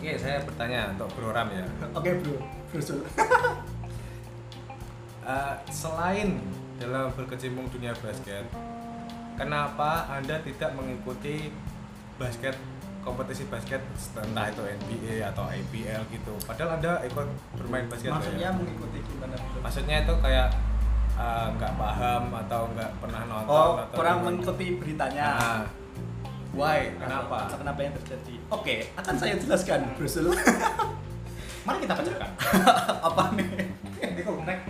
oke saya bertanya untuk program ya
oke bro. Bro Sul.
Eh, selain dalam berkecimpung dunia basket, kenapa Anda tidak mengikuti basket kompetisi basket entah itu NBA atau IPL gitu? Padahal Anda ikut bermain basket ya?
Maksudnya mengikuti gimana bro?
Maksudnya itu kayak eh, nggak paham atau nggak pernah nonton
Oh
atau
kurang
gimana?
mengikuti beritanya.
Nah, why? Kenapa?
Atau Ah. Kenapa yang terjadi? Oke, akan saya jelaskan Bro Sul. [LAUGHS]
Mari kita pecahkan.
Apa nih?
Ini kok connect?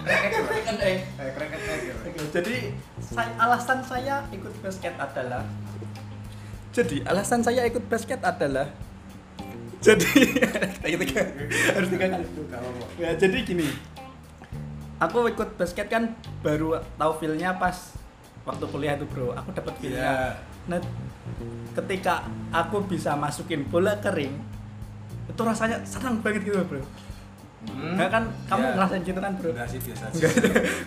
Kan, eh.
Eh, keren kan
Oke, jadi saya- alasan saya ikut basket adalah jadi alasan saya ikut basket adalah jadi [LAUGHS] Tiga, tiga. harus tiga kali dulu. Ya, jadi gini aku ikut basket kan baru tahu feel-nya pas waktu kuliah tuh bro aku dapat
iya. Ya.
feel-nya nah ketika aku bisa masukin bola kering itu rasanya senang banget gitu bro
Hmm.
Nah, kan
Ya.
kamu ngerasain gitu kan bro
Udah sih biasa aja. [LAUGHS]
Enggak.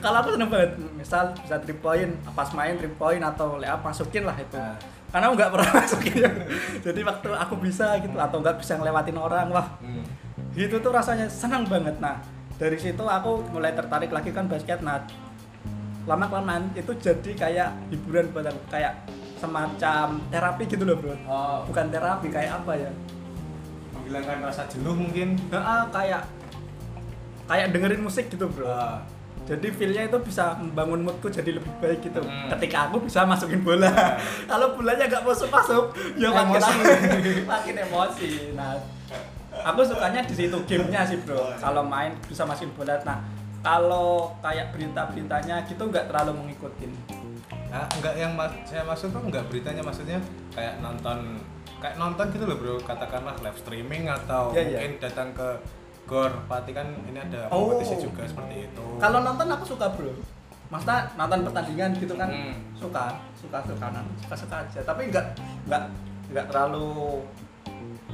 Kalau aku seneng banget, misal bisa 3 point, pas main 3 point atau layup ah, masukin lah itu.
Nah.
karena aku nggak pernah [LAUGHS] masuk gitu. jadi waktu aku bisa gitu atau nggak bisa ngelewatin orang wah
Hmm.
gitu tuh rasanya senang banget nah dari situ aku mulai tertarik lagi kan basket nah lama kelamaan itu jadi kayak hiburan buat aku kayak semacam terapi gitu loh bro
Oh,
bukan terapi kayak apa ya
menghilangkan rasa jenuh mungkin.
Nah, ah, kayak kayak dengerin musik gitu bro
Ah,
jadi feelnya itu bisa membangun moodku jadi lebih baik gitu
Hmm.
ketika aku bisa masukin bola [LAUGHS] kalau bolanya nggak masuk masuk
[LAUGHS]
ya makin
Emosi.
makin emosi nah aku sukanya di situ gamenya sih
Oh,
bro
iya.
kalau main bisa masukin bola nah kalau kayak berita-beritanya gitu nggak terlalu mengikutin
Ah, enggak yang ma- saya maksud tuh enggak beritanya maksudnya kayak nonton kayak nonton gitu loh bro katakanlah live streaming atau
Iya, iya.
mungkin datang ke gor pati kan ini ada
Oh.
kompetisi juga seperti itu
kalau nonton aku suka bro Maksudnya nonton pertandingan gitu kan
Hmm.
suka suka suka nonton, suka suka aja tapi nggak nggak nggak terlalu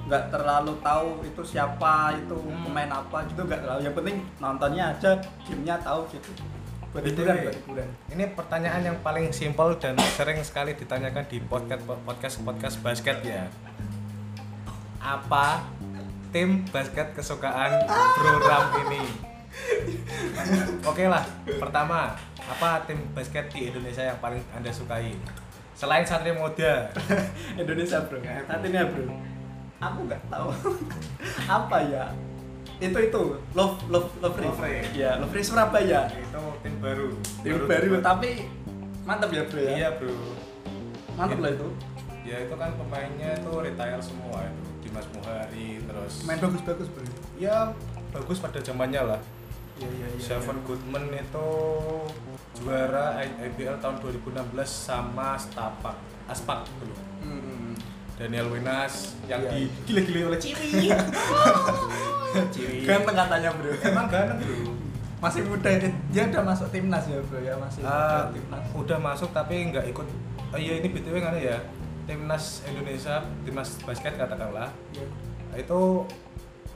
nggak terlalu tahu itu siapa itu
Hmm.
pemain apa gitu nggak terlalu yang penting nontonnya aja gamenya tahu gitu buat
BTW.
hiburan buat hiburan
ini pertanyaan yang paling simpel dan sering sekali ditanyakan di podcast podcast podcast basket ya apa tim basket kesukaan Bro Ram ini oke lah pertama apa tim basket di Indonesia yang paling anda sukai selain Satria Muda
Indonesia bro saat ini ya bro aku nggak tahu [LAUGHS] apa ya itu itu love love love
Lovre.
ya love Free Surabaya
itu tim baru
Tim baru
dibuat.
tapi mantap ya bro ya
iya bro
mantap lah itu
ya itu kan pemainnya itu retire semua itu Dimas Muhari terus
main bagus-bagus bro
ya bagus pada zamannya lah
iya iya
Seven Goodman itu juara IBL tahun 2016 sama Stapak Aspak dulu
[LAUGHS] Hmm.
Daniel Wenas yang
Iya.
di gile-gile oleh Ciri Ciri
ganteng katanya Kan bro
emang ganteng bro
masih muda dia, dia udah masuk timnas ya bro ya masih
Ah,
muda timnas
udah masuk tapi nggak ikut oh iya ini BTW kan ya timnas Indonesia timnas basket katakanlah
Iya.
itu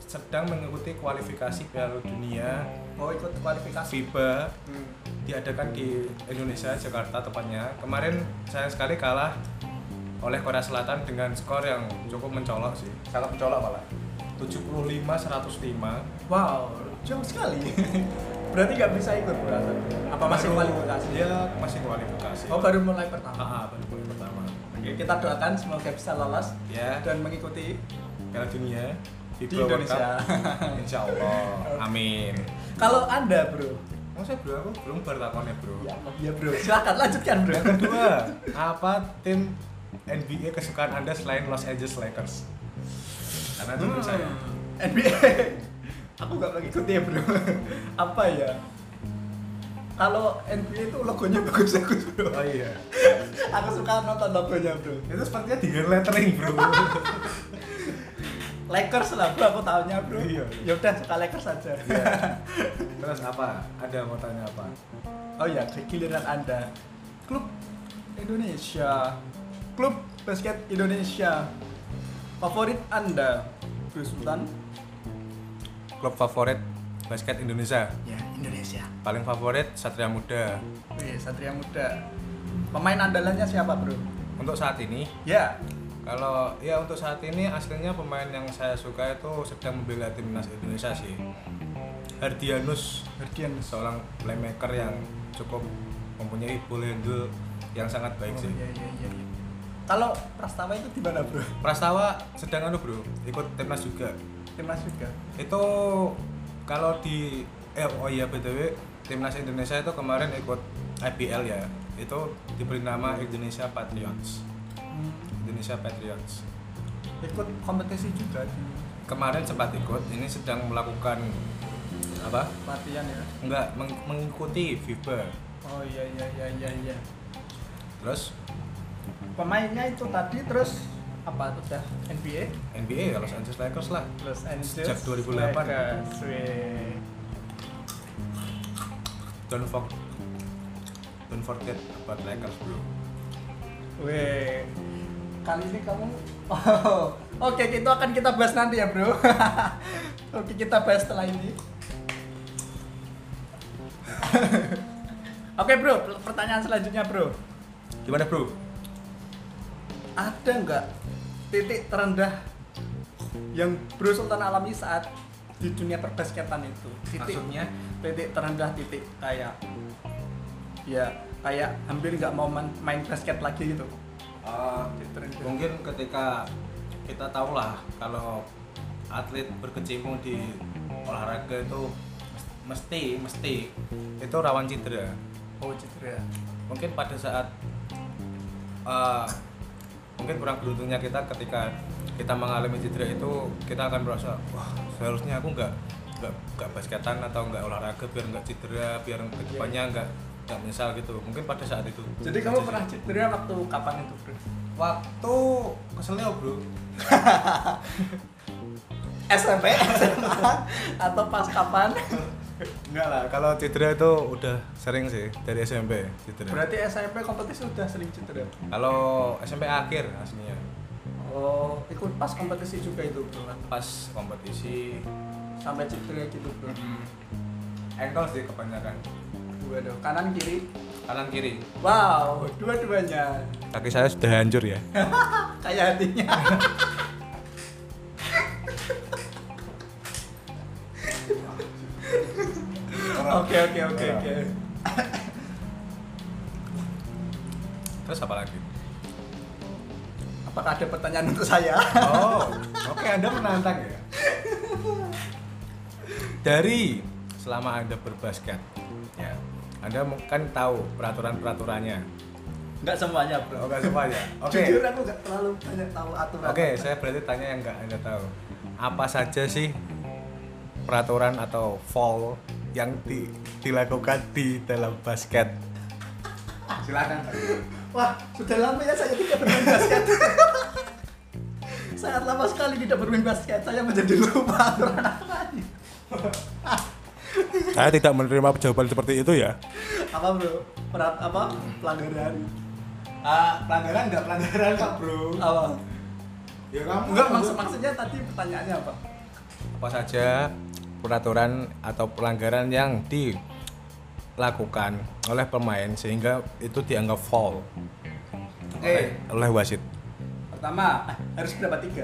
sedang mengikuti kualifikasi Piala Dunia
mau ikut kualifikasi
FIBA
Hmm.
diadakan di Indonesia Jakarta tepatnya kemarin saya sekali kalah oleh Korea Selatan dengan skor yang cukup mencolok sih sangat mencolok malah 75 105
wow jauh sekali [LAUGHS] berarti nggak bisa ikut bro apa masih
Baru-
kualifikasi
Iya, masih kualifikasi
oh baru mulai
Ah,
pertama
ah, baru poin pertama
Oke, kita doakan semoga bisa lolos
ya
dan mengikuti
Piala Dunia
di
FIBA World Cup.
Indonesia
[LAUGHS] Insya Allah amin
[LAUGHS] kalau anda bro
Mau saya bro, aku belum bertakon ya bro
ya Allah, ya bro silakan lanjutkan bro
Yang kedua, apa tim NBA kesukaan anda selain Los Angeles Lakers? Karena itu
Hmm.
menurut saya
NBA [LAUGHS] aku nggak mengikuti ya bro [LAUGHS] apa ya kalau NBA itu logonya bagus-bagus bro
Oh iya.
[LAUGHS] aku suka nonton logonya bro
Itu sepertinya di lettering, Bro.
Lakers lah bro aku tahunya bro
Iya.
ya udah suka Lakers saja
Iya. Terus apa? Ada mau tanya apa?
[LAUGHS] oh ya ke giliran anda klub Indonesia klub basket Indonesia favorit anda Bro Sultan
Klub favorit basket Indonesia.
ya Indonesia
Paling favorit Satria Muda.
Wih, Satria Muda pemain andalannya siapa bro
Untuk saat ini,
ya
kalau ya untuk saat ini aslinya pemain yang saya suka itu sedang membela timnas Indonesia sih. Hardianus,
Guardian
seorang playmaker yang cukup mempunyai ball handle yang sangat baik
Oh,
sih.
iya, Kalau Prastawa itu di mana, Bro?
Prastawa sedang anu bro, ikut timnas juga.
Timnas juga.
itu kalau di eh, oh iya btw timnas Indonesia itu kemarin ikut IPL ya itu diberi nama Indonesia Patriots
Hmm.
Indonesia Patriots
Ikut kompetisi juga di
kemarin sempat ikut ini sedang melakukan apa
latihan ya.
enggak meng- mengikuti FIBA
Oh iya iya iya iya iya.
terus
Pemainnya itu tadi terus apa tuh ya? NBA?
NBA ya Los Angeles Lakers lah
Los Angeles.
Sejak 2008.
Lakers. Wih.
don't forget don't forget about Lakers bro
Wih. Kali ini kamu [LAUGHS] Oh, oke itu akan kita bahas nanti ya, Bro. [LAUGHS] oke, kita bahas setelah ini. [LAUGHS] oke, Bro, pertanyaan selanjutnya, Bro.
gimana bro
ada nggak titik terendah yang Bro Sultan alami saat di dunia perbasketan itu? Titik,
Maksudnya?
titik terendah titik kayak ya kayak hampir nggak mau main, main basket lagi gitu.
Eh, mungkin ketika kita tahu lah kalau atlet berkecimpung di olahraga itu mesti mesti itu rawan cedera
Oh cedera.
mungkin pada saat eh, mungkin kurang beruntungnya kita ketika kita mengalami cedera itu kita akan merasa wah seharusnya aku nggak nggak nggak basketan atau nggak olahraga biar nggak cedera biar kedepannya nggak nggak menyesal gitu mungkin pada saat itu
Jadi kamu pernah cedera waktu kapan itu Bro?
waktu keselnya bro
SMP, SMA atau pas kapan?
Enggak lah, kalau cedera itu udah sering sih dari SMP cedera.
Berarti SMP kompetisi sudah sering cedera.
Kalau SMP akhir aslinya
Oh, ikut pas kompetisi juga itu Bro.
pas kompetisi
Sampai cedera gitu Bro.
ankle sih kebanyakan
Waduh, kanan kiri.
kanan kiri.
Wow, dua-duanya.
Kaki saya sudah hancur ya.
Kayak hatinya. Oke, oke, oke,
Iya.
oke.
Terus apa lagi?
Apakah ada pertanyaan untuk saya?
Oh, oke Anda menantang ya. Dari selama Anda berbasket, ya, Anda kan tahu peraturan-peraturannya.
Enggak semuanya, Bro.
Oke, semuanya.
[LAUGHS]
Oke.
Jujur aku nggak terlalu banyak tahu aturan.
Oke, saya berarti tanya yang nggak anda tahu. Apa saja sih peraturan atau foul yang di- dilakukan di dalam basket? Silakan.
Wah, sudah lama ya saya tidak bermain basket. Sangat lama sekali tidak bermain basket. Saya menjadi lupa aturan apanya.
Saya tidak menerima jawaban seperti itu ya.
Apa, Bro? Perat apa? Pelanggaran.
Ah, pelanggaran nggak pelanggaran kak bro.
Apa?
Ya kamu
Enggak, maksud maksudnya tadi pertanyaannya apa?
Apa saja peraturan atau pelanggaran yang dilakukan oleh pemain sehingga itu dianggap foul oleh, oleh wasit?
Pertama, Ah, harus berapa tiga?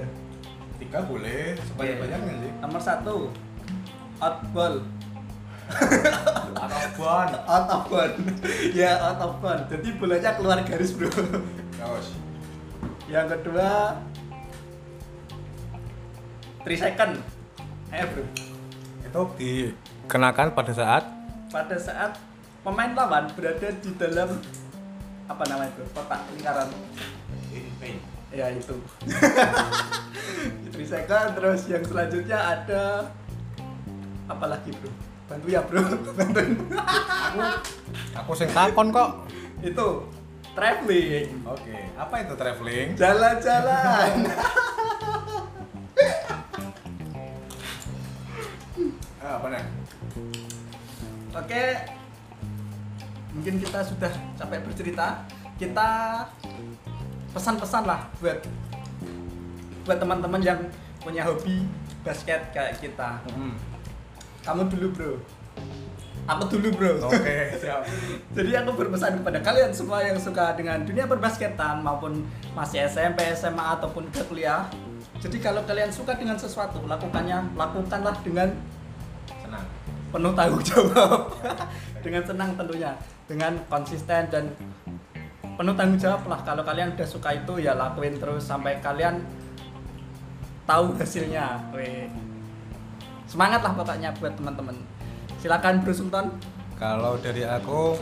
Tiga boleh,
sebanyak-banyaknya Nomor satu, out ball.
Atau bon.
Out of bound. [LAUGHS] ya, out of bound. Jadi bolanya keluar garis, Bro. [LAUGHS]
Ya,
Yang kedua, 3 second. Ayo, Bro.
itu dikenakan pada saat
Pada saat pemain lawan berada di dalam apa namanya itu? Kotak lingkaran. Ya, itu. 3 second terus yang selanjutnya ada apa lagi, Bro? Bantu ya, Bro. [LAUGHS] Bantuin.
aku sing takon kok
itu traveling.
oke apa itu traveling
Jalan-jalan.
Ah, apa nih
Oke. Mungkin kita sudah capek bercerita. Kita pesan-pesan lah buat buat teman-teman yang punya hobi basket kayak kita. Kamu dulu, Bro. Aku dulu, Bro.
[LAUGHS] oke siap
[LAUGHS] Jadi aku berpesan kepada kalian semua yang suka dengan dunia perbasketan maupun masih SMP, SMA ataupun ke kuliah. Jadi kalau kalian suka dengan sesuatu, lakukannya lakukanlah dengan
senang
penuh tanggung jawab. [LAUGHS] dengan senang tentunya, dengan konsisten dan penuh tanggung jawab lah. Kalau kalian udah suka itu ya lakuin terus sampai kalian tahu hasilnya. Weh. Semangat lah pokoknya buat teman-teman. Silakan Bro Sultan.
kalau dari aku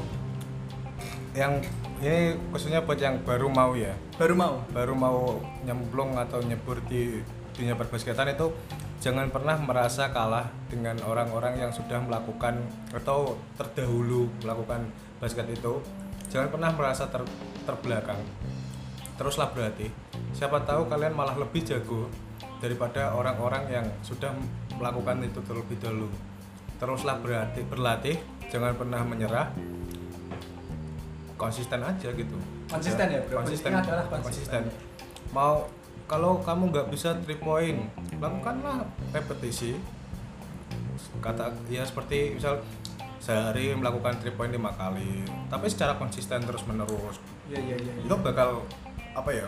yang ini khususnya buat yang baru mau ya
baru mau.
baru mau nyemplung atau nyebur di dunia perbasketan itu jangan pernah merasa kalah dengan orang-orang yang sudah melakukan atau terdahulu melakukan basket itu jangan pernah merasa ter- terbelakang teruslah berlatih siapa tahu kalian malah lebih jago daripada orang-orang yang sudah melakukan itu terlebih dahulu teruslah berlatih berlatih jangan pernah menyerah konsisten aja gitu
Konsisten ya, bro?
konsisten
Kuncinya adalah
konsisten
konsisten.
mau kalau kamu nggak bisa three point lakukanlah repetisi kata ya seperti misal sehari melakukan three point lima kali tapi secara konsisten terus menerus
Iya iya iya.
itu bakal apa ya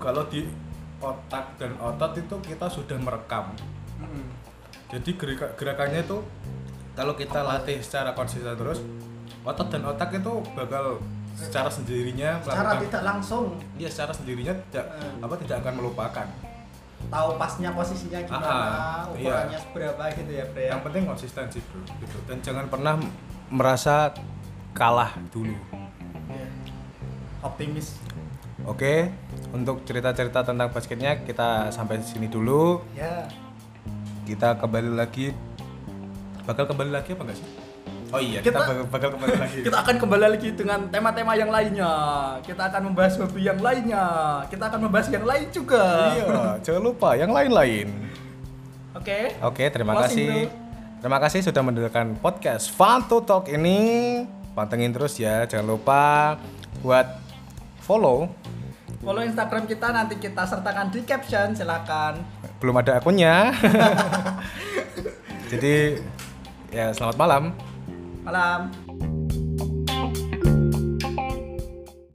kalau di otak dan otot itu kita sudah merekam
Mm-mm.
jadi gerak- gerakannya itu kalau kita latih secara konsisten terus otot dan otak itu bakal secara sendirinya
Secara
melakukan-
tidak langsung
dia secara sendirinya tidak
Hmm.
apa tidak akan melupakan
tahu pasnya posisinya gimana,
Ah,
ukurannya
iya.
seberapa gitu ya, Bre.
yang penting konsisten sih bro gitu. dan jangan pernah merasa kalah dulu
Iya. Optimis.
oke untuk cerita-cerita tentang basketnya kita sampai sini dulu
Ya.
kita kembali lagi bakal kembali lagi apa enggak sih oh iya kita,
Kita-
bakal, bakal kembali
[LAUGHS]
lagi
Kita akan kembali lagi dengan tema-tema yang lainnya. Kita akan membahas hobi yang lainnya. Kita akan membahas yang lain juga.
iya jangan lupa yang lain-lain
Oke.
oke terima
Closing,
kasih
bro.
terima kasih sudah mendengarkan podcast Fun to Talk ini pantengin terus ya jangan lupa buat follow
Follow Instagram kita nanti kita sertakan di caption. Silakan.
belum ada akunnya [LAUGHS] jadi ya selamat malam
Malam.